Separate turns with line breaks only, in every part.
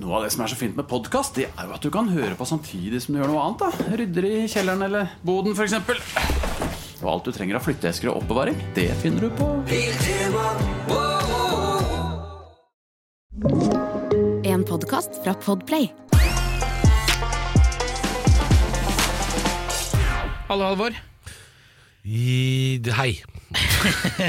Noe av det som er så fint med podkast, det er jo at du kan høre på samtidig som du gjør noe annet. da Rydder i kjelleren eller boden, f.eks. Og alt du trenger av flytteesker og oppbevaring, det finner du på
En podcast fra Podplay
Hallo, Halvor.
I, hei.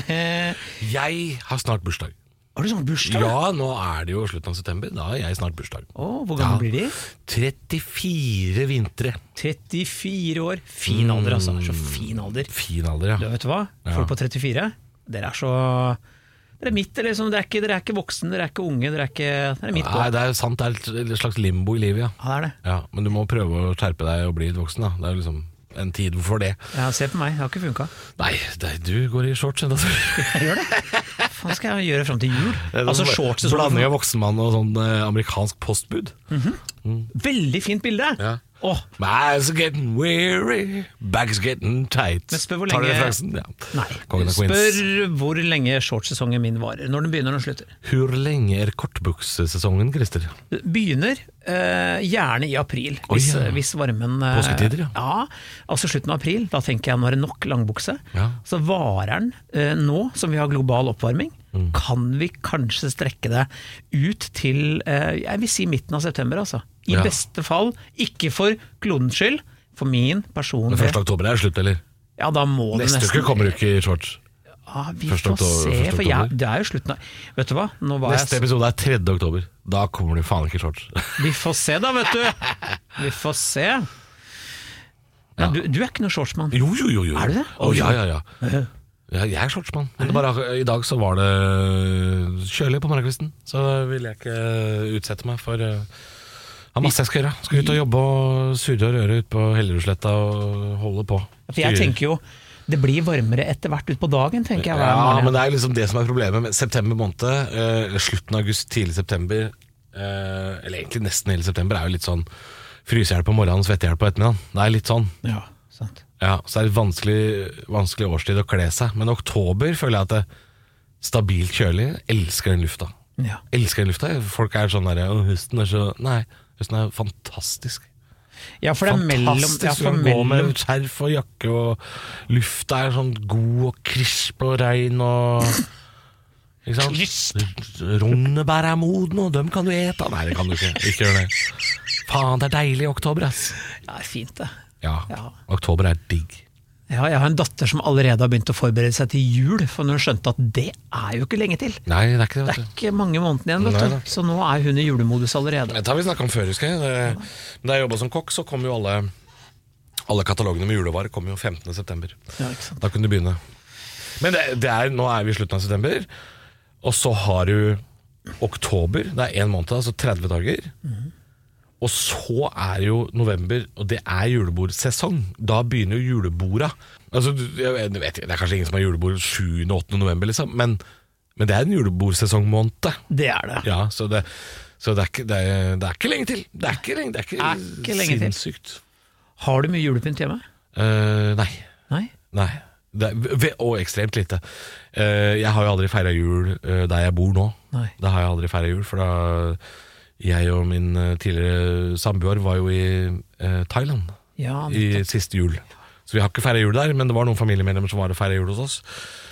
jeg har snart bursdag.
Har du sånn bursdag?
Ja, nå er det jo slutten av september. Da har jeg snart bursdag.
Å, hvor gammel blir de?
34 vintre.
34 år. Fin alder, altså. Så fin alder.
Fin alder,
Du
ja.
vet du hva?
Ja.
Folk på 34, dere er så Dere er midt, dere, liksom, dere, er ikke, dere er ikke voksen, dere er ikke unge, dere er ikke Dere er midt på.
Nei, det er jo sant. Det er et- et slags limbo i livet, ja.
Ja, det er det.
ja. Men du må prøve å skjerpe deg og bli litt voksen, da. Det er jo liksom en tid for det.
Ja, se på meg, det har ikke funka.
Nei, det, du går i shorts ennå, tror jeg.
Hva faen skal jeg gjøre fram til jul? Altså shorts og
Blanding
sånn.
av voksenmann og sånn eh, amerikansk postbud.
Veldig fint bilde!
Ja.
Åh,
My eyes are getting weary, back's getting tight.
Men spør hvor
Tar du
lenge-
referansen? Ja.
nei.
Kongen av Queens.
Spør hvor lenge shortsesongen min varer. Når den begynner og når den slutter.
Hvor lenge er kortbuksesesongen, Christer?
Begynner eh, gjerne i april,
Oi,
hvis,
ja.
hvis varmen eh,
Påsketider, ja.
altså slutten av april. Da tenker jeg nå er det nok langbukse.
Ja.
Så varer den eh, nå som vi har global oppvarming,
Mm.
kan vi kanskje strekke det ut til eh, jeg vil si midten av september, altså. I
Ja.
beste fall, ikke for klodens skyld, for
Den
min personlige
1. oktober er slutt, eller?
Ja, da må det
Neste
nesten
uke kommer du ikke i shorts.
Ja, vi
Første
får
oktober-
se,
første
for jeg,
oktober.
det er jo slutten av Vet du hva, nå var
Neste
jeg
episode er 3. oktober. Da kommer du faen ikke i shorts.
Vi får se da, vet du! Vi får se. Men du, du er ikke noe shortsmann.
Jo, jo, jo. jo.
Er du det?
Å, ja, ja, ja. ja jeg er shortsmann. Men det bare, i dag så var det øh, kjølig på morgenkvisten, så ville jeg ikke utsette meg for eh, har masse jeg skal gjøre. Skal ut og jobbe og surre og røre ut på Hellerudsletta og holde på.
For jeg tenker jo det blir varmere etter hvert utpå dagen, tenker jeg. hver
Ja,
morgen.
men det er liksom det som er problemet med september måned, eh, eller slutten av august, tidlig september, eh, eller egentlig nesten hele september, er jo litt sånn frysehjelp på morgenen, svettehjelp på ettermiddagen. Det er litt sånn.
ja, sant.
Ja, så er det vanskelig, vanskelig årstid å kle seg. Men oktober føler jeg at det stabilt kjølig. Elsker den lufta.
Ja.
Elsker den lufta. Folk er sånn derre «Å, Høsten er så Nei, høsten er fantastisk.
ja, for det er mellom
Fantastisk.
ja,
Du
for
kan gå
mellom,
med skjerf og jakke, og lufta er sånn god og krisp og rein og Ikke sant? Rognebær er modne, og dem kan du ete. Nei, det kan du ikke. Ikke gjør det. Faen, det er deilig i oktober, ass.
Ja, det er fint, det.
Ja,
Ja.
oktober er digg.
Ja, jeg har en datter som allerede har begynt å forberede seg til jul, for hun skjønte at det er jo ikke lenge til.
Nei, det er ikke det,
Det
vet
er
du.
ikke mange månedene igjen,
Nei
vet
da.
du. Så nå er hun i julemodus allerede.
Dette har vi snakka om før, husker jeg. Det, da jeg jobba som kokk, så kom jo alle Alle katalogene med julevarer kom jo 15.9.
Ja, ikke sant?
Da kunne du begynne. Men det, det er, nå er vi i slutten av september, og så har du oktober. Det er én måned, altså 30 dager. Og så er jo november, og det er julebordsesong. Da begynner jo juleborda. Altså, du- jeg vet, jeg vet, ikke, det er kanskje ingen som har julebord 7. og 8. november, liksom, men, men det er en julebordsesongmåned.
Det er det.
Ja, så det, så det, er, ikke, det, er, det er ikke lenge til. Det er ikke lenge, det er ikke
Er ikke lenge til.
sinnssykt. Til.
Har du mye julepynt hjemme?
nei.
Nei?
nei. Det er, ve- og ekstremt lite. Eh, jeg har jo aldri feira jul eh, der jeg bor nå.
Nei.
Det har jeg aldri feira jul, for da jeg og min eh, tidligere samboer var jo i eh, Thailand
Ja,
i siste jul. Så vi har ikke feira jul der, men det var noen familiemedlemmer som var og feira jul hos oss.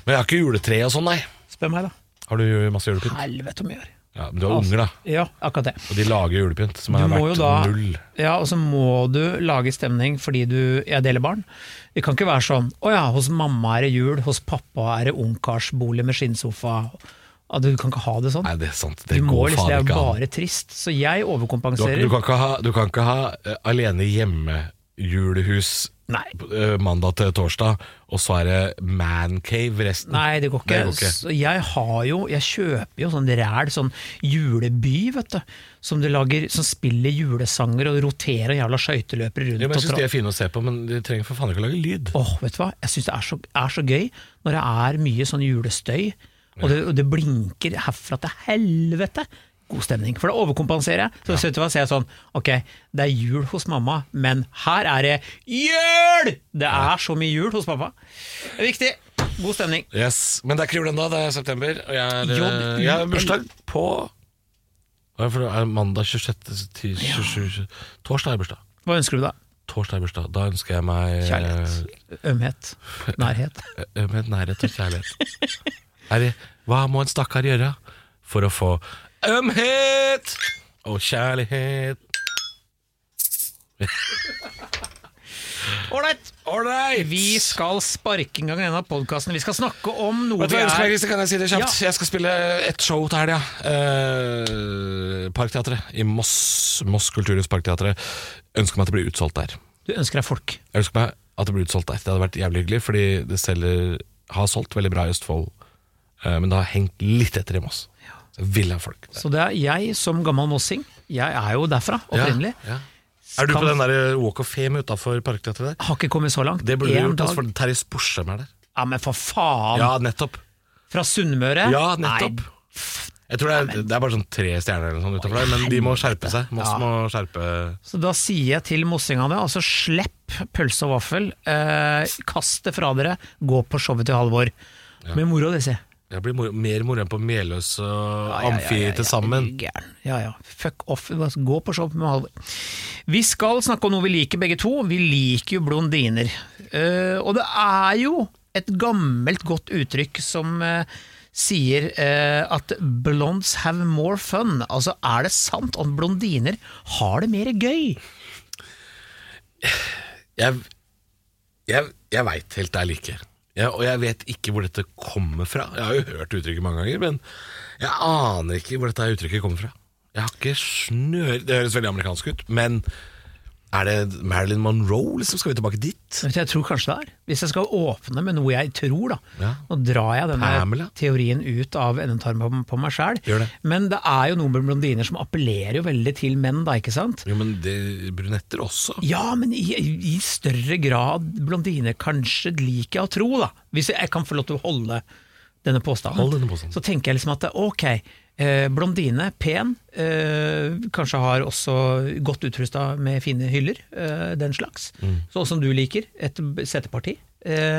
Men jeg har ikke juletre og sånn, nei.
spør meg da.
Har du masse julepynt?
Helvete om jeg gjør.
Ja, men du har unger, da.
Ja, akkurat det.
Og de lager julepynt som
Du
er
må jo
verdt
da,
null.
ja, og så må du lage stemning fordi du, jeg deler barn. Det kan ikke være sånn å ja, hos mamma er det jul, hos pappa er det ungkarsbolig med skinnsofa. Ja, Du kan ikke ha det sånn.
Nei, det er sant.
Du
Det
må,
går
liksom,
faen
det er
ikke an.
bare trist. Så jeg
Du, har-
overkompenserer.
du kan ikke ha, du kan ikke ha eh, alene hjemme-julehus
Nei.
eh, mandag til torsdag, og så er det mancave resten.
Nei, det går ikke.
Det går ikke.
Så Jeg har jo, jeg kjøper jo sånn ræl, sånn juleby, vet du. Som, du lager, som spiller julesanger og roterer jævla skøyteløpere rundt.
Jo, men
og
jeg syns
tra-
de er fine å se på, men de trenger for faen ikke å lage lyd.
Åh, vet du hva? Jeg syns det er så, er så gøy når det er mye sånn julestøy, og det, og det blinker herfra til helvete. God stemning. For da overkompenserer jeg. Så vet du hva, så er jeg sånn Ok, det er jul hos mamma, men her er det jul! Det er så mye jul hos pappa. Det er viktig. God stemning.
Yes, Men det er ikke jul ennå, det er september. Og jeg, er, eh,
Jobb-
jeg har bursdag på Ja, for det er mandag 26. til 27. Torsdag er bursdag.
Hva ønsker du da?
Torsdag er bursdag. Da ønsker jeg meg
Kjærlighet. Ømhet. Nærhet.
eh, Ømhet, nærhet og kjærlighet. er det, hva må en stakkar gjøre for å få ømhet og kjærlighet?
Ålreit!
Ålreit!
Vi skal sparke i gang denne podkasten. Vi skal snakke om noe
Vet du hva jeg ønsker meg,
vi er
Christer? Kan jeg si det kjapt? Jeg skal spille et show til helga. Eh, Parkteatret i Moss. Moss Kulturhus Parkteatret. Ønsker meg at det blir utsolgt der.
Du ønsker deg folk.
Jeg ønsker meg at det blir utsolgt der. Det hadde vært jævlig hyggelig, fordi det selger, har solgt veldig bra i Østfold. Eh, men det har hengt litt etter i Moss. Så jeg vil ha folk.
Så det er jeg som gammel mossing. Jeg er jo derfra, opprinnelig.
Ja, ja. Er du på den der eh, Walk of Fame utafor Parkteatret der?
Har ikke kommet så langt.
Det burde du
En
gjort, altså,
dag-
for Terje Sporsem er der.
Ja, men for faen!
Ja, nettopp.
Fra Sunnmøre?
Ja, nettopp. Jeg tror det er, det er bare sånn tre stjerner eller sånn utenfor der, men de må skjerpe seg. Moss må skjerpe
Så da sier jeg til mossingene, altså slipp pølse og vaffel, eh, kast det fra dere, gå på showet til Halvor. Med moro, det sier jeg.
Det blir mor mer moro enn på Meløs og Amfi til sammen.
Er du gæren? Ja ja, fuck off, bare gå på show med Halvor. Vi skal snakke om noe vi liker begge to, vi liker jo blondiner. Eh, og det er jo et gammelt godt uttrykk som eh, sier eh, at 'blondes have more fun'. Altså, er det sant at blondiner har det mer gøy?
Jeg, jeg, jeg veit helt ærlig ikke. Jeg, og jeg vet ikke hvor dette kommer fra. Jeg har jo hørt uttrykket mange ganger, men jeg aner ikke hvor dette uttrykket kommer fra. Jeg har ikke snør Det høres veldig amerikansk ut, men er det Marilyn Monroe, liksom? Skal vi tilbake dit?
Vet du, Jeg tror kanskje det er. Hvis jeg skal åpne med noe jeg tror, da.
Ja.
Nå drar jeg denne
Pamela.
teorien ut av endetarmen på, på meg sjæl.
Gjør det.
Men det er jo noe med blondiner som appellerer jo veldig til menn, da, ikke sant?
Jo, men det, brunetter også.
Ja, men i, i større grad blondiner kanskje liker jeg å tro, da. Hvis jeg kan få lov til å holde denne påstanden.
Hold denne påstanden.
Så tenker jeg liksom at ok, eh, blondine, pen, eh, kanskje har også godt utrusta med fine hyller, eh, den slags. Sånn som du liker, et b- seteparti. Eh,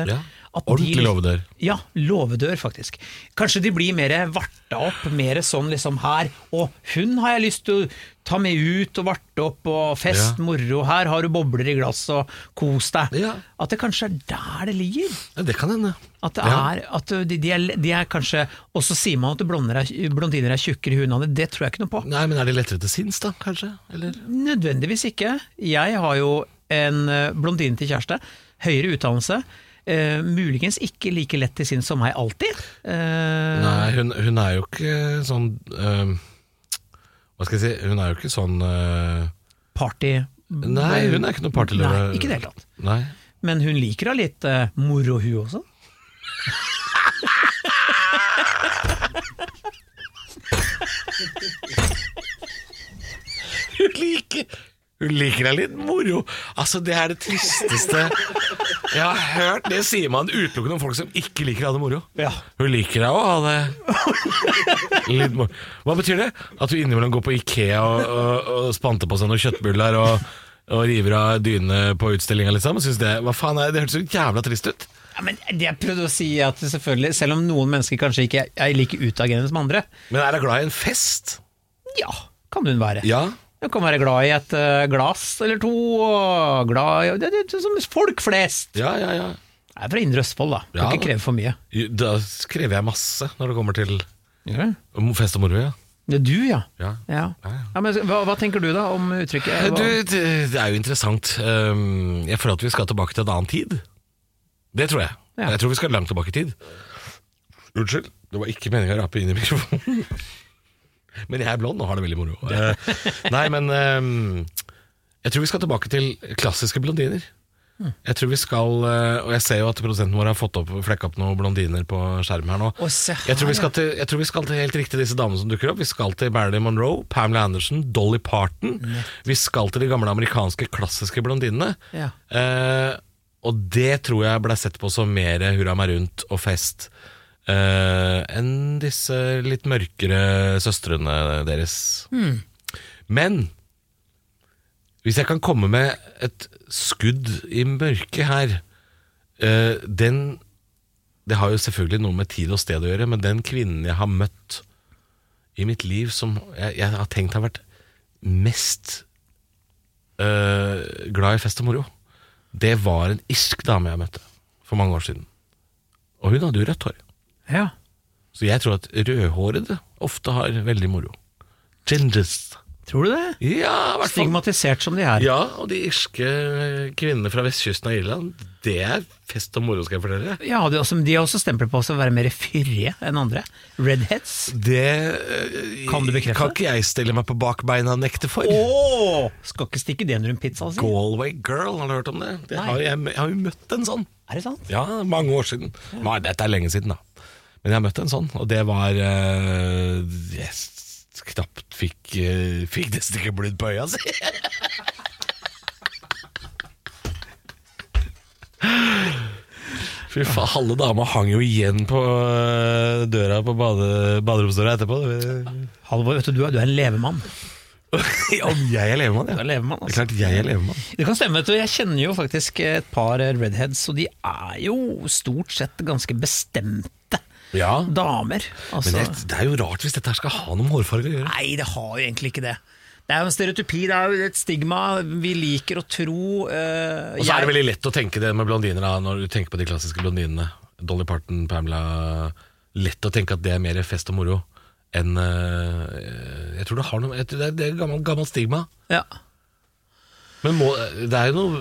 Mm. Ja,
at
ordentlig
de-
låvedør.
Ja, låvedør, faktisk. Kanskje de blir mer varta opp, mer sånn liksom her Og hun har jeg lyst til å ta med ut og varte opp, og fest,
Ja.
moro, her har du bobler i glass og kos deg.
Ja.
At det kanskje er der det ligger.
Ja, det kan hende.
At, det
Ja.
er, at de, de, er, de er kanskje Og så sier man at blonder er- blondiner er tjukkere i huet enn andre, det tror jeg ikke noe på.
Nei, men er de lettere til sinns, da, kanskje? Eller?
Nødvendigvis ikke. Jeg har jo en eh, blondine til kjæreste, høyere utdannelse. eh, muligens ikke like lett til sinns som meg alltid. Eh,
Nei, hun, hun er jo ikke sånn øhm, Hva skal jeg si, hun er jo ikke sånn øh,
party
Nei, hun er ikke noe partyløve.
Nei, ikke i det hele tatt.
Nei.
Men hun liker da litt eh, moro, hun også.
Hun liker Hun liker deg litt moro. Altså, det er det tristeste jeg har hørt. Det sier man utelukkende om folk som ikke liker å ha det moro.
Ja.
Hun liker deg å ha det litt moro. Hva betyr det? At du innimellom går på Ikea og, og, og spanter på seg noen kjøttbuller og, og river av dyne på utstillinga, liksom? Synes det, hva faen er det? det hørtes så jævla trist ut.
Ja, men det jeg prøvde å si er at selvfølgelig, selv om noen mennesker kanskje ikke er like utagerende som andre,
Men er hun glad i en fest?
ja, kan hun være.
Ja.
Hun kan være glad i et eh, glass eller to, og glad i det, det, det, Som folk flest!
Ja, ja, ja.
Jeg er fra Indre Østfold, da. Kan
Ja,
ikke
da.
kreve for mye.
Da krever jeg masse når det kommer til
Ja.
fest og moro, ja.
Det er du, ja.
ja.
ja. ja men, hva, hva tenker du da om uttrykket?
Du, det, det er jo interessant. Um, Jeg føler at vi skal tilbake til en annen tid. Det tror jeg.
Ja.
Jeg tror vi skal langt tilbake i tid. Unnskyld, det var ikke meninga å rape inn i mikrofonen. Men jeg er blond og har det veldig moro. Eh, Nei, men um, jeg tror vi skal tilbake til klassiske blondiner.
Hmm.
Jeg tror vi skal, eh, Og jeg ser jo at produsenten vår har fått opp, flekka opp noen blondiner på skjermen her nå.
Å, se her,
Jeg tror, vi
ja.
skal til, jeg tror vi skal til helt riktig disse damene som dukker opp. Vi skal til Marilyn Monroe, Pamela Anderson, Dolly Parton. Vi skal til de gamle amerikanske klassiske blondinene.
Ja.
Eh, og det tror jeg ble sett på som mer hurra meg rundt og fest eh, enn disse litt mørkere søstrene deres. Men hvis jeg kan komme med et skudd i mørket her eh, Den Det har jo selvfølgelig noe med tid og sted å gjøre, men den kvinnen jeg har møtt i mitt liv som jeg, jeg har tenkt har vært mest øh, glad i fest og moro, det var en irsk dame jeg møtte for mange år siden. Og hun hadde jo rødt hår.
Ja.
Så jeg tror at rødhårede ofte har veldig moro. Gingers.
Tror du det?
Ja, i hvert fall.
Stigmatisert som de er.
Ja, og de irske kvinnene fra vestkysten av Irland, det er fest og moro, skal jeg fortelle.
Ja, de, også, de har også stempel på seg å være mer fyrige enn andre. Redheads.
Det øh,
Kan du bekrefte?
Kan ikke jeg stille meg på bakbeina og nekte for.
Åh! Skal ikke stikke det under en pizza, altså.
Galway Girl, har du hørt om det? det
Nei.
har, jeg, jeg har jo møtt en sånn.
Er det sant?
Ja, mange år siden. Nei, dette er lenge siden, da. Men jeg har møtt en sånn, og det var eh, Jeg s- knapt fikk, eh, fikk nesten ikke blod på øya si. Fy faen, halve dama hang jo igjen på eh, døra på bade, baderomsdøra etterpå.
Halvor, vet du, du er, du er en levemann.
Om jeg er levemann,
Du er en
ja.
levemann,
Det er
altså.
klart jeg er levemann.
Det kan stemme, vet du. Jeg kjenner jo faktisk et par redheads, og de er jo stort sett ganske bestemte
Ja,
damer. Altså.
men det, det er jo rart hvis dette her skal ha noe med hårfarge å gjøre.
Nei, det har jo egentlig ikke det. Det er jo en stereotypi, det er jo et stigma. Vi liker å tro eh,
Og så er det
jeg-
veldig lett å tenke det med blondiner, da, når du tenker på de klassiske blondinene. Dolly Parton, Pamela Lett å tenke at det er mer fest og moro enn eh, Jeg tror det har noe jeg tror Det er, det er gammelt, gammelt stigma.
ja.
Men må, det er jo noe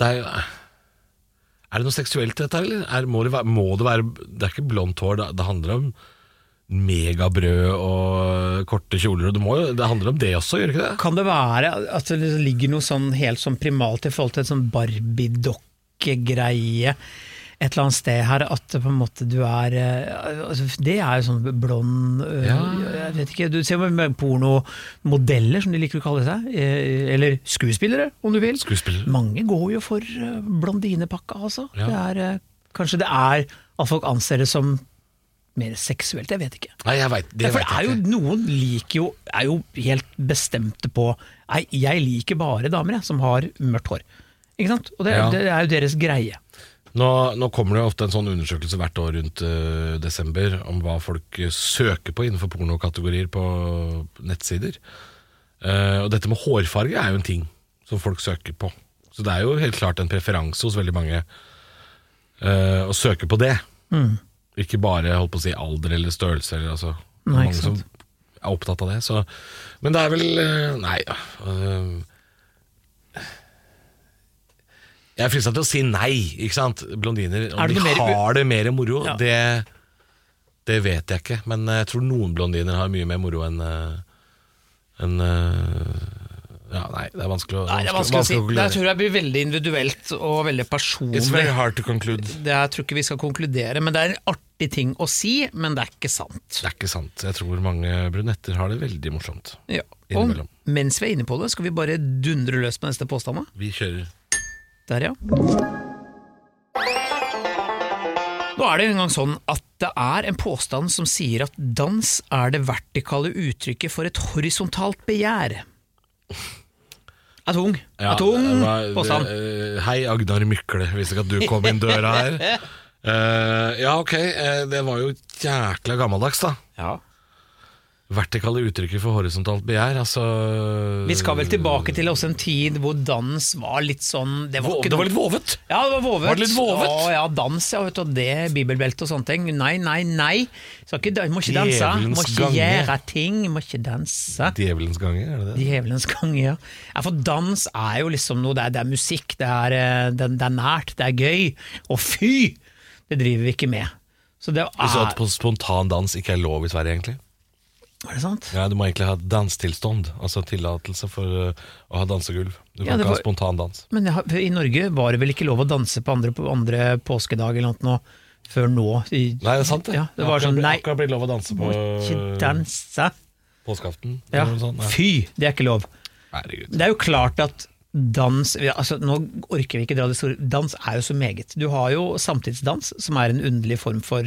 Det er jo eh, Er det noe seksuelt i dette, her, eller? Er, må, det være, må det være Det er ikke blondt hår, det, det handler om megabrød og korte kjoler. Og det, må, jo- det handler om det også, gjør det ikke det?
Kan det være at det ligger noe sånn helt sånn primalt i forhold til en sånn Barbie-dokke-greie et eller annet sted her, at det på en måte du er eh, altså, Det er jo sånn blond eh, Jeg vet ikke, du ser jo med pornomodeller, som de liker å kalle seg. eh, Eller skuespillere, om du vil.
Skuespillere.
Mange går jo for eh, blondinepakka, altså.
Ja.
Det er, eh, kanskje det er at folk anser det som mer seksuelt, jeg vet ikke.
Nei, jeg vet, det
Ja, for
vet
det er
jeg
jo
ikke.
noen liker jo Er jo helt bestemte på Nei, jeg liker bare damer jeg, som har mørkt hår. Ikke sant? Og det,
Ja.
det er jo deres greie.
Nå, nå kommer det jo ofte en sånn undersøkelse hvert år rundt eh, desember om hva folk eh, søker på innenfor pornokategorier på nettsider. Eh, og dette med hårfarge er jo en ting som folk søker på. Så det er jo helt klart en preferanse hos veldig mange eh, å søke på det.
Mm.
Ikke bare holdt på å si alder eller størrelse. Eller, altså, Det er
Nei, ikke
mange
sant.
som er opptatt av det. Så. Men det er vel eh, Nei. eh, jeg er frista til å si nei, ikke sant. Blondiner,
Er
om
det
de
noe mer-
har det mer moro,
Ja.
det, det vet jeg ikke. Men eh, jeg tror noen blondiner har mye mer moro enn eh, enn, eh, Ja, nei, det er vanskelig å
Nei, det er vanskelig å si. Det
konkludere.
tror jeg blir veldig individuelt og veldig personlig.
It's very hard to conclude.
Det er, jeg tror ikke vi skal konkludere, men det er en artig ting å si, men det er ikke sant.
Det er ikke sant. Jeg tror mange brunetter har det veldig morsomt.
Ja. Og
Innimellom.
mens vi er inne på det, skal vi bare dundre løs på neste påstand. da?
Vi kjører.
Der, ja. Nå er det jo engang sånn at det er en påstand som sier at dans er det vertikale uttrykket for et horisontalt begjær. Er tung.
Ja,
er tung
det var-
påstand.
eh, hei, Agnar Mykle. Visste ikke at du kom inn døra her. Eh, ja, ok. eh, det var jo jækla gammeldags, da.
Ja.
Vertikale uttrykket for horisontalt begjær, altså
Vi skal vel tilbake til også en tid hvor dans var litt sånn Det var,
Vå-
ikke
Det var
noe-
litt vovet!
Ja, det var vovet.
Var det litt vovet?
Å, ja, dans, ja, vet du, og det, bibelbelte og sånne ting. Nei, nei, nei. Skal ikke, da- må ikke danse. Må
Djevelens
ikke
gange.
gjøre ting. Må ikke danse.
Djevelens gange, er det det?
Djevelens gange, ja. ja. For dans er jo liksom noe, det er, det er musikk, det er, eh, det, det er nært, det er gøy. Og fy! Det driver vi ikke med. Så det
Du sa
er,
at på spontan dans ikke er lov i Sverige, egentlig?
er det sant?
Ja, Du må egentlig ha dansetilstånd, altså tillatelse for eh, å ha dansegulv. Du kan
Ja, det
ikke ha
var-
spontan dans.
Men jeg, har- i Norge var det vel ikke lov å danse på andre, på andre påskedag eller noe nå, før nå? I,
Nei, det er sant, det.
Ja, det var
akkurat,
sånn, nei.
akkurat blitt lov å danse på
må ikke danse.
påskeaften.
Ja.
eller noe sånt, ja.
Fy, det er ikke lov.
Herregud.
Det er jo klart at dans ja, altså Nå orker vi ikke dra det store Dans er jo så meget. Du har jo samtidsdans, som er en underlig form for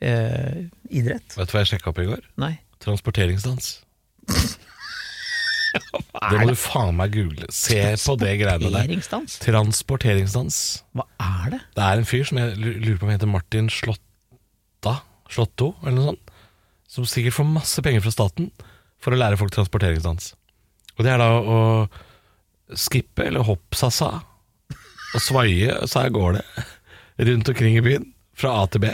eh, idrett.
Vet du hva jeg sjekka opp i går?
Nei.
Transporteringsdans. Det må du faen meg google. Se på det greiene der.
Transporteringsdans?
Transporteringsdans.
Hva er det?
Det er en fyr som jeg lu- lurer på om heter Martin Slotta Slotto, eller noe sånt. som sikkert får masse penger fra staten for å lære folk transporteringsdans. Og det er da å skippe eller hoppsasa og svaie, så her går det rundt omkring i byen fra A til B.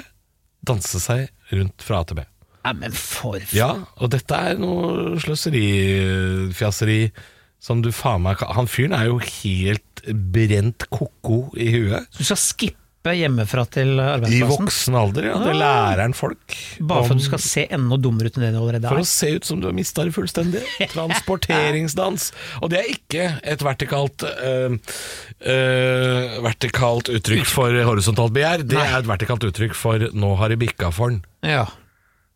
Danse seg rundt fra A til B.
Nei, men for f...
Ja, og dette er noe sløserifjaseri som du faen meg kan Han fyren er jo helt brent ko-ko i huet.
Du skal skippe hjemmefra til
I
eh, arbeidsplassen
voksen alder, ja. Det lærer han folk.
Ah. bare for
om-
at du skal se enda dummere ut enn det du allerede
For
er.
å se ut som du har mista det fullstendig. Transporteringsdans. Og det er ikke et vertikalt eh, eh, Vertikalt uttrykk for horisontalt begjær. Det er et vertikalt uttrykk for 'nå har det bikka for den'.
Ja.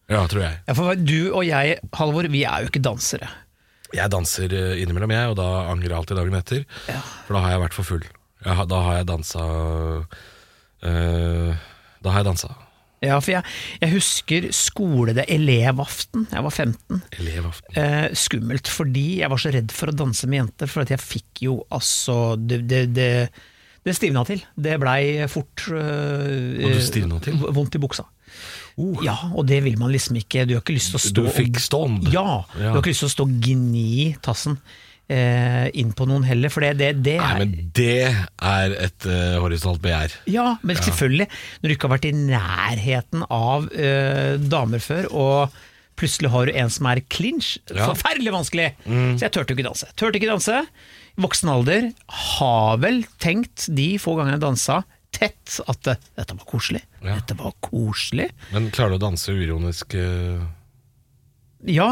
Ja, tror jeg.
ja, for du og jeg, Halvor, vi er jo ikke dansere.
Jeg danser eh, innimellom, jeg, og da angrer jeg alltid dagen etter. For da har jeg vært for full. Jeg, har- da har jeg dansa eh, Da har jeg dansa.
Ja, for jeg, jeg husker skole, det elevaften, jeg var 15.
Elevaften.
Eh, skummelt, fordi jeg var så redd for å danse med jenter, for at jeg fikk jo altså Det, det, det, det stivna til. Det blei fort eh,
Og du stivna til? Uh.
v- Vondt i buksa. Ja, og det vil man liksom ikke. Du har ikke lyst til å stå
Du fikk stånd.
Ja, du
Ja.
har ikke lyst til å stå og gni tassen eh, inn på noen heller, for det, det, det er
Nei, men det er et eh, horisontalt begjær.
Ja, men selvfølgelig. Når du ikke har vært i nærheten av eh, damer før, og plutselig har du en som er clinch.
Ja. Mm.
Forferdelig vanskelig! Så jeg turte jo ikke danse. Turte ikke danse. I Voksen alder har vel tenkt, de få gangene jeg dansa, tett at eh, dette var koselig.
Ja.
Dette var koselig.
Men klarer du å danse uironisk eh,
Ja,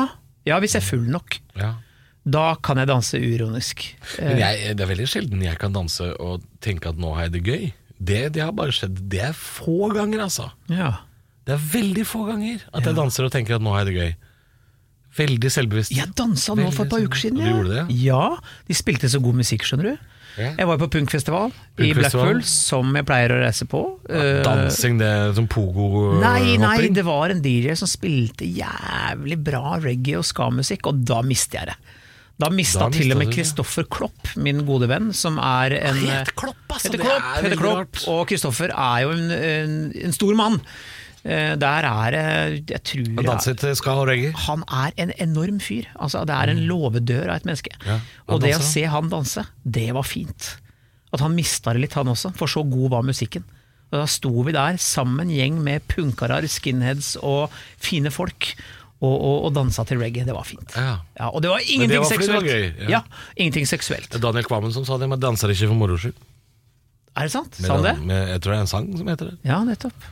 ja, hvis jeg er full nok.
Ja.
Da kan jeg danse Eh, uironisk.
Men jeg, det er veldig sjelden jeg kan danse og tenke at nå har jeg det gøy. Det, det har bare skjedd. Det er få ganger, altså.
Ja.
Det er veldig få ganger at jeg danser og tenker at nå har jeg det gøy. Veldig selvbevisst.
Jeg dansa nå for et par
Veldig
uker
sånn.
siden.
Og du gjorde det,
ja? De spilte så god musikk, skjønner du.
Ja.
Jeg var på punkfestival i
Punkfestival.
Blackpool, som jeg pleier å reise på. Eh,
Dansing, det er som pogo eh,
Nei, nei,
hopping.
det var en DJ som spilte jævlig bra reggae- og ska-musikk, og da mister jeg det. Da mista
Da mistet
til og med
du det.
Kristoffer Klopp, min gode venn, som er en
Het Klopp, altså,
Heter
det
Klopp,
er
heter
veldig
Klopp
rart.
og Kristoffer er jo en, en, en stor mann. Eh, Der er det Jeg tror
Han danser til ska og reggae.
han er en enorm fyr. Altså, det er en låvedør av et menneske.
Mm. Ja, han
og det å
danser.
se han danse, det var fint. At han mista det litt, han også, for så god var musikken. Og da sto vi der sammen, gjeng med punkarar, skinheads og fine folk, og, og, og dansa til reggae. Det var fint.
Ja.
og det var ingenting
var fordi det var
seksuelt.
gøy, ja.
ja. ingenting seksuelt.
Daniel Kvammen som sa det, men danser ikke for moro skyld.
Er det sant?
Med
Sa han det?
Dan- Med, jeg tror det er en sang som heter det.
Ja, nettopp.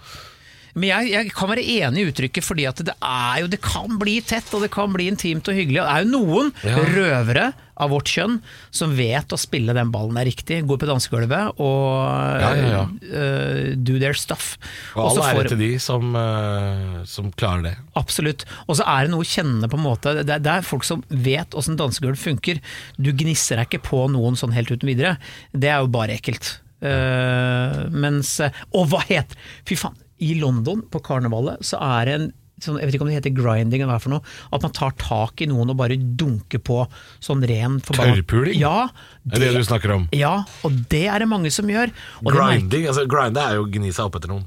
Men jeg, jeg kan være enig i uttrykket, fordi at det er jo Det kan bli tett, og det kan bli intimt og hyggelig. Og Det er jo noen
Ja.
røvere av vårt kjønn som vet å spille den ballen der riktig. Går på dansegulvet og
Ja, ja, ja.
øh, do their stuff.
Og
så
all ære
får-
til de som, eh, som klarer det.
Absolutt. Og så er det noe kjennende på en måte. Det er, det er folk som vet åssen dansegulv funker. Du gnisser deg ikke på noen sånn helt uten videre. Det er jo bare ekkelt. Eh, mens Og hva het Fy faen! I London, på karnevalet, så er det en sånn, jeg vet ikke om det heter grinding eller hva det er for noe, at man tar tak i noen og bare dunker på sånn ren forbanna-
Tørrpuling?
Ja,
Det er det du snakker om.
ja, og det er det mange som gjør. Og det merker-
Grinding altså, grinde er jo å gni seg opp etter noen.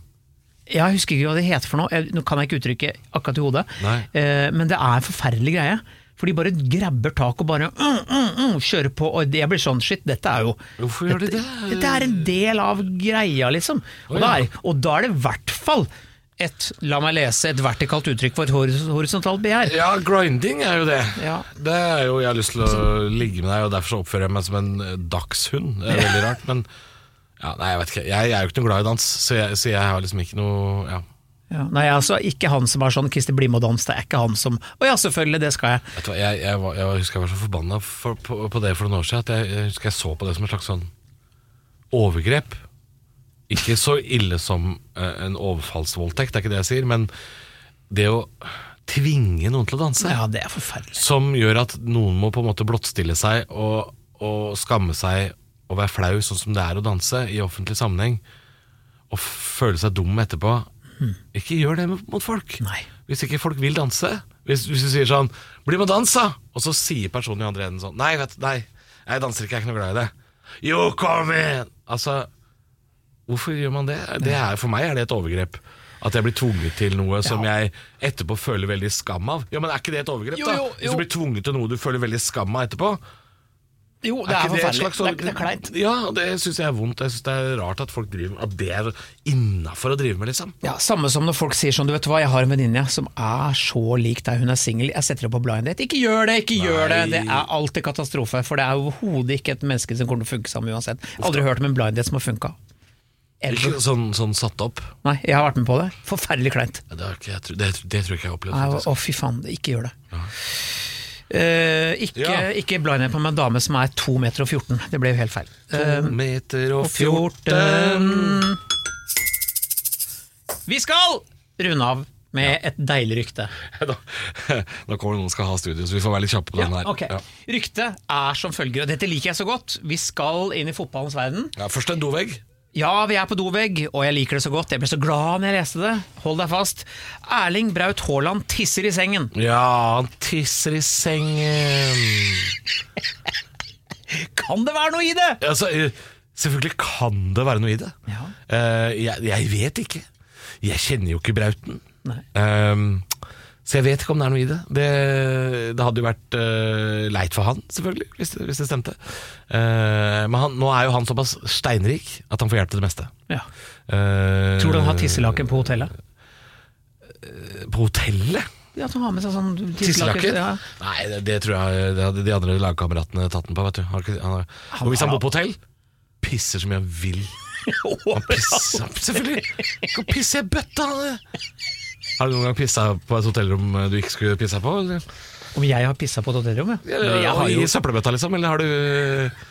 jeg husker ikke hva det heter for noe, jeg, nå kan jeg ikke uttrykke akkurat i hodet,
Nei.
eh, men det er en forferdelig greie. For de bare grabber tak og bare mm, mm, mm, kjører på, og jeg blir sånn shit, dette er jo
Hvorfor gjør de
dette,
det?
Dette er en del av greia, liksom. Og,
Å,
da,
ja.
er, og da er det i hvert fall et, la meg lese, et vertikalt uttrykk for et horis- horisontalt begjær.
Ja, grinding er jo det.
Ja.
Det er jo Jeg har lyst til å ligge med deg, og derfor så oppfører jeg meg som en eh, dagshund. Det er veldig rart, men ja, Nei, jeg vet ikke. Jeg, jeg er jo ikke noe glad i dans, så jeg, så jeg har liksom ikke noe ja.
Ja. Nei, altså, ikke han som er sånn Christer Blimo-dans, det er ikke han som Å ja, selvfølgelig, det skal jeg.
Vet du hva, jeg, jeg, var, jeg husker jeg var så forbanna for, på, på det for noen år siden at jeg, jeg husker jeg så på det som et slags sånn overgrep. Ikke så ille som eh, en overfallsvoldtekt, det er ikke det jeg sier, men det å tvinge noen til å danse
Ja, det er forferdelig.
som gjør at noen må på en måte blottstille seg og, og skamme seg og være flau, sånn som det er å danse i offentlig sammenheng, og føle seg dum etterpå. Ikke gjør det mot folk.
Nei.
Hvis ikke folk vil danse. Hvis, hvis du sier sånn 'bli med og dans', da! Og så sier personen i andre enden sånn 'nei, vet du, nei, jeg danser ikke, jeg er ikke noe glad i det'. Jo, kom igjen! Altså, hvorfor gjør man det? det er, for meg er det et overgrep. At jeg blir tvunget til noe som jeg etterpå føler veldig skam av. Ja, Men er ikke det et overgrep,
Jo,
da?
jo,
Hvis
jo.
du blir tvunget til noe du føler veldig skam av etterpå.
Jo,
ikke
det sånn er,
et
forferdelig.
slags
Det er,
overgrep?
det er kleint.
Ja, og det syns jeg er vondt. Jeg syns det er rart at folk driver At det er innafor å drive med, liksom.
Ja, Samme som når folk sier sånn, du vet hva, jeg har en venninne som er så lik deg, hun er singel, jeg setter henne på blind date. Ikke gjør det, ikke gjør det!
Nei.
Det er alltid katastrofe, for det er overhodet ikke et menneske som kommer til å funke sammen uansett. Aldri hørt om en blind date som har funka.
Ikke sånn, sånn satt opp.
Nei, jeg har vært med på det. Forferdelig kleint.
Ja, Det, har ikke, jeg, tro- det, det tror jeg ikke jeg har opplevd.
Nei, Å,
faktisk.
å, fy faen, ikke gjør det. Eh, ikke,
Ja.
ikke blind date med en dame som er 2 meter og 14, det ble jo helt feil. Eh,
To meter og
og 14 Vi skal runde av med et deilig rykte.
Da, da kommer det noen som skal ha studio, så vi får være litt kjappe på den her.
ok.
Ja.
Ryktet er som følger, og dette liker jeg så godt. Vi skal inn i fotballens verden.
Ja, først en dovegg.
Ja, vi er på dovegg, og jeg liker det så godt. Jeg ble så glad når jeg leste det. Hold deg fast. Erling Braut Haaland tisser i sengen.
Ja, han tisser i sengen.
Kan det være noe i det?
Altså, eh, selvfølgelig kan det være noe i det.
Ja.
Eh, jeg, jeg vet ikke. Jeg kjenner jo ikke Brauten.
Nei.
Ehm, så jeg vet ikke om det er noe i det. Det, det hadde jo vært eh, leit for han, selvfølgelig, hvis det, hvis det stemte. Eh, men han, nå er jo han såpass steinrik at han får hjelp til det meste.
Ja.
Eh,
Tror du han har tisselaken på hotellet?
Eh, På hotellet?
Ja, at han har med seg sånn
Tisselaken?
Ja.
Nei, det, det tror jeg det hadde de andre lagkameratene tatt den på. Vet du. Han, har ikke- han, har-
Han-
og hvis han
han-
bor på hotell, pisser så mye han vil. Han pisser, selvfølgelig! Kan pisse i bøtta! han. Har du noen gang pissa på et hotellrom eh, du ikke skulle pissa på? Eller?
Om jeg har pissa på et hotellrom, ja. Men Jeg har
Og
jo,
I søppelbøtta, liksom? Eller har du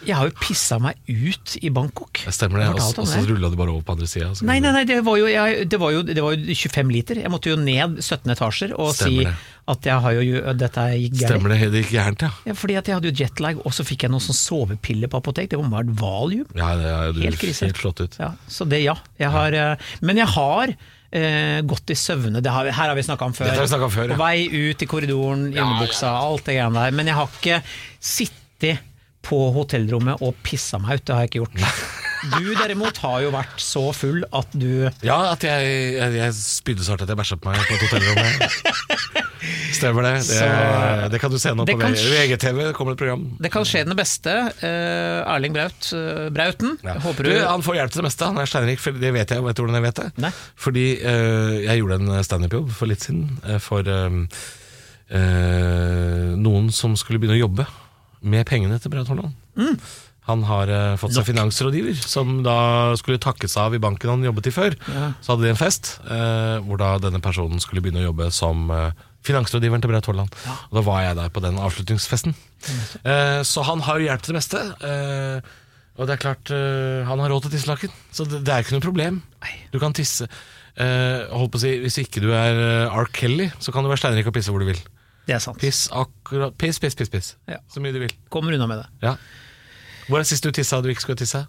jeg har jo pissa meg ut i Bangkok.
Jeg Stemmer det.
Jeg
Og
fortalte
så-
om
og så
det.
rulla du bare over på andre sida.
Nei, nei, nei det, var jo, jeg, det, var jo, det var jo 25 liter. Jeg måtte jo ned 17 etasjer og
Stemmer det.
si at jeg har jo, dette gikk gærent.
Stemmer det. Det gikk gærent, ja.
Ja, fordi at jeg hadde jo jetlag, og så fikk jeg noen sånn sovepiller på apotek. Det var et valium.
ja det er, du,
Helt krise.
Helt slått ut.
Ja, så det, ja. Jeg har, eh, Men jeg har eh, gått i søvne. Det har, vi- her har vi snakka om før.
Dette har vi snakket om før, ja.
På vei ut i korridoren, innebuksa, alt det greiene der. Men jeg har ikke sittet på hotellrommet og pissa meg ut. Det har jeg ikke gjort. Du derimot har jo vært så full at du
Ja, at jeg, jeg, jeg spydde så hardt at jeg bæsja på meg på et hotellrom. Stemmer det. Det,
Så-
det kan du se nå
Det
på
kan
V-
skje-
VGTV. Det kommer et program.
Det kan skje den beste. Eh, Erling Braut, eh, Brauten.
Ja.
Håper
du,
du,
han får hjelp til det meste. Han er steinrik, for det vet jeg. Vet du hvordan jeg vet det?
Nei.
Fordi eh, jeg gjorde en standup-jobb for litt siden eh, for eh, eh, noen som skulle begynne å jobbe med pengene til Braut Haaland.
Mm.
Han har eh, fått seg finansrådgiver, som da skulle takke seg av i banken han jobbet i før. Så hadde de en fest eh, hvor da denne personen skulle begynne å jobbe som eh, finansrådgiveren til Braut Haaland. Og Da var jeg der på den avslutningsfesten. Eh, så han har jo hjelp til det meste. Eh, og det er klart, eh, han har råd til tisselaken, så det, det er ikke noe problem. Du kan tisse. Eh, holdt på å si, Hvis ikke du er eh, R. Kelly, så kan du være steinrik og pisse hvor du vil.
Det er sant.
Piss, akkurat, piss, piss, piss, piss.
Ja.
så mye du vil.
Kommer unna med det.
Ja. Hvor er sist du tissa du ikke skulle tisse?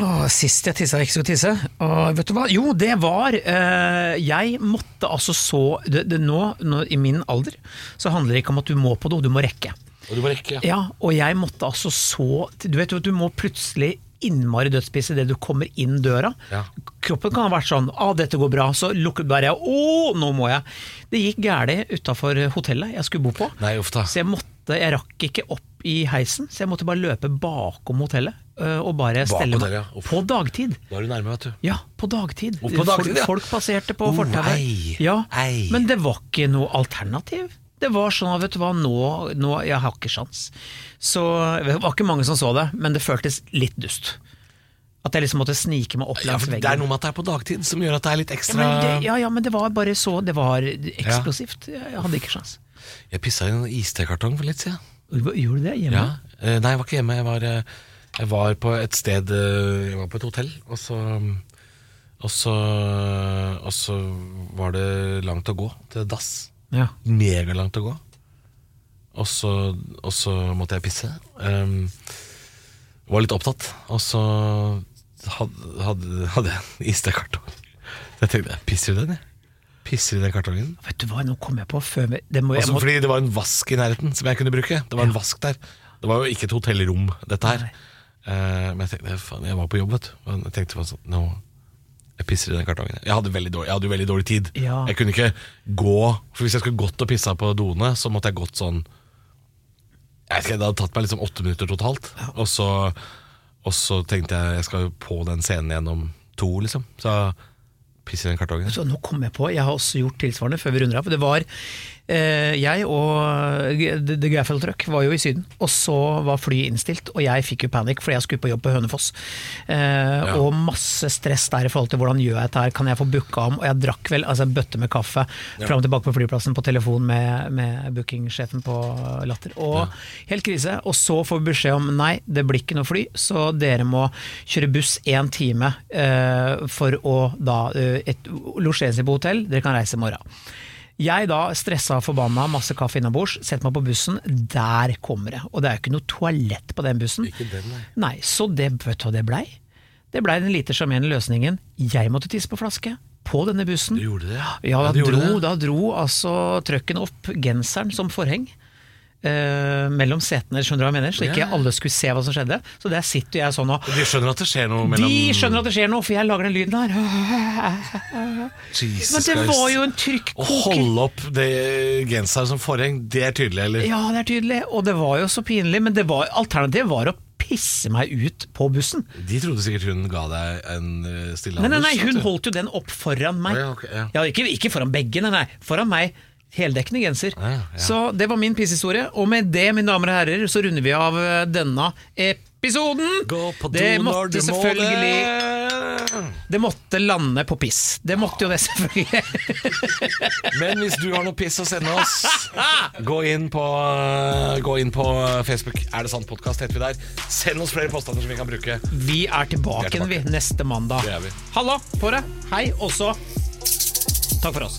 Åh, sist jeg tissa jeg ikke skulle tisse. Åh, vet du hva? Jo, det var eh, Jeg måtte altså så det, det, nå, nå, i min alder, så handler det ikke om at du må på do, du må rekke.
Og du må rekke, ja.
Ja, og jeg måtte altså så Du vet jo at du må plutselig innmari dødsspisse idet du kommer inn døra.
Ja.
Kroppen kan ha vært sånn 'Å, dette går bra', så lukker bare jeg 'Å, nå må jeg'. Det gikk galt utafor hotellet jeg skulle bo på,
Nei, uff da.
så jeg måtte Jeg rakk ikke opp i heisen, så jeg måtte bare løpe bakom hotellet øh, og bare
Bak
stelle meg.
hotellet, ja. Uff.
På dagtid.
Da er du nærme, vet du.
Ja, på dagtid.
Og på dagtid,
folk,
ja.
folk passerte på
Oh, ei,
fortauet. Ja,
ei.
men det var ikke noe alternativ. Det var sånn at vet du hva, nå, nå Jeg har ikke sjans. Så Det var ikke mange som så det, men det føltes litt dust. At jeg liksom måtte snike meg opp
Ja,
langs
for det er
veggen.
noe med at det er på dagtid som gjør at det er litt
Ja,
ekstra
men det, ja, ja, men det var bare så Det var eksplosivt. Jeg hadde ikke sjans.
Jeg pissa i en iste-kartong for litt siden.
Gjorde du det hjemme?
Ja. Eh, Nei, jeg var ikke hjemme. Jeg var, eh, jeg var på et sted eh, Jeg var på et hotell, og så Og så, og så var det langt å gå til dass.
Ja.
megalangt å gå. Og så, og så måtte jeg pisse. Um, var litt opptatt. Og så hadde, hadde, hadde jeg en istekartong. Så jeg tenkte jeg pisser i den, jeg. Pisser i den kartongen.
Vet du hva, nå kom jeg på før vi- det må, jeg
Også
må,
Altså, fordi det var en vask i nærheten som jeg kunne bruke. Det var en vask der. Det var jo ikke et hotellrom, dette her. Eh, men jeg tenkte, faen, jeg var på jobb, vet du. Men Jeg tenkte bare sånn, nå Jeg pisser i den kartongen. Jeg hadde veldig dårlig, jeg hadde jo veldig dårlig tid.
Ja.
Jeg kunne ikke gå For Hvis jeg skulle gått og pissa på doene, så måtte jeg gått sånn jeg vet ikke, Det hadde tatt meg liksom åtte minutter totalt. Og, så, og så tenkte jeg jeg skal jo på den scenen igjen om to, liksom. Så piss i den kartongen.
Så nå kom jeg på, jeg har også gjort tilsvarende før vi runder av. for Det var eh, jeg og G- The The Gaffel Truck var jo i Syden, og så var flyet innstilt. Og jeg fikk jo panikk fordi jeg skulle på jobb på Hønefoss. Eh, Og masse stress der i forhold til hvordan gjør jeg dette her, kan jeg få booka om? Og jeg drakk vel altså en bøtte med kaffe fram og tilbake på flyplassen på telefon med, med bookingsjefen på Latter. Og helt krise. Og så får vi beskjed om nei, det blir ikke noe fly, så dere må kjøre buss én time eh, for å da eh, et- losjere seg på hotell. Dere kan reise i morgen. Jeg da stressa og forbanna, masse kaffe innabords, setter meg på bussen. Der kommer det. Og det er jo ikke noe toalett på den bussen. Nei, Så det, vet du hva det blei? Det blei den lite sjarmerende løsningen. Jeg måtte tisse på flaske. På denne bussen.
Du gjorde det? ja?
Ja, da,
du gjorde
dro,
det.
da dro altså trøkken opp genseren som forheng. eh, mellom setene, skjønner du hva jeg mener? Så ikke
Ja.
alle skulle se hva som skjedde. Så der sitter jeg sånn og
De skjønner at det skjer noe mellom
De skjønner at det skjer noe, for jeg lager den lyden der.
Jesus
Men det
Christ.
var jo en
Å
trykkoker.
holde opp det genseren som forheng, det er tydelig, eller?
Ja, det er tydelig. Og det var jo så pinlig. Men det var, alternativet var å pisse meg ut på bussen.
De trodde sikkert hun ga deg en eh, stille
Nei, nei, nei,
Anders, vet
hun
du.
holdt jo den opp foran meg.
Å, ja, ok, ja.
ikke, ikke foran begge, nei, nei. Foran meg. Heldekkende genser.
Ja, ja.
Så det var min pisshistorie. Og med det, mine damer og herrer, så runder vi av eh, denne episoden.
Gå på do
det
når du
måtte
må
selvfølgelig
det.
Det måtte lande på piss. Det måtte jo det, selvfølgelig.
Men hvis du har noe piss å sende oss, gå inn på, eh, gå inn på Facebook. Er det sant podkast heter vi der. Send oss flere påstander som vi kan bruke.
Vi er tilbake,
Vi er tilbake.
vi, neste mandag.
Det er vi.
Halla på deg. Hei. Og så takk for oss.